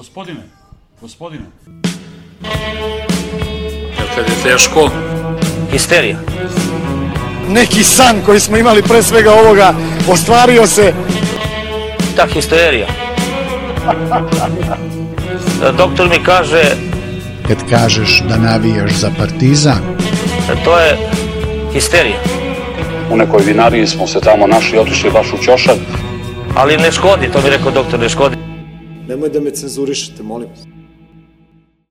Gospodine, gospodine. Jer kad je teško, Histerija. neki san koji smo imali pre svega ovoga ostvario se. Ta histerija. Da, Doktor mi kaže, kad kažeš da navijaš za Partizan, to je histerija. U nekoj vinariji smo se tamo našli, otišli baš u Ćošak. Ali ne škodi, to mi je rekao doktor, ne škodi. Nemoj da me cenzurišete, molim vas.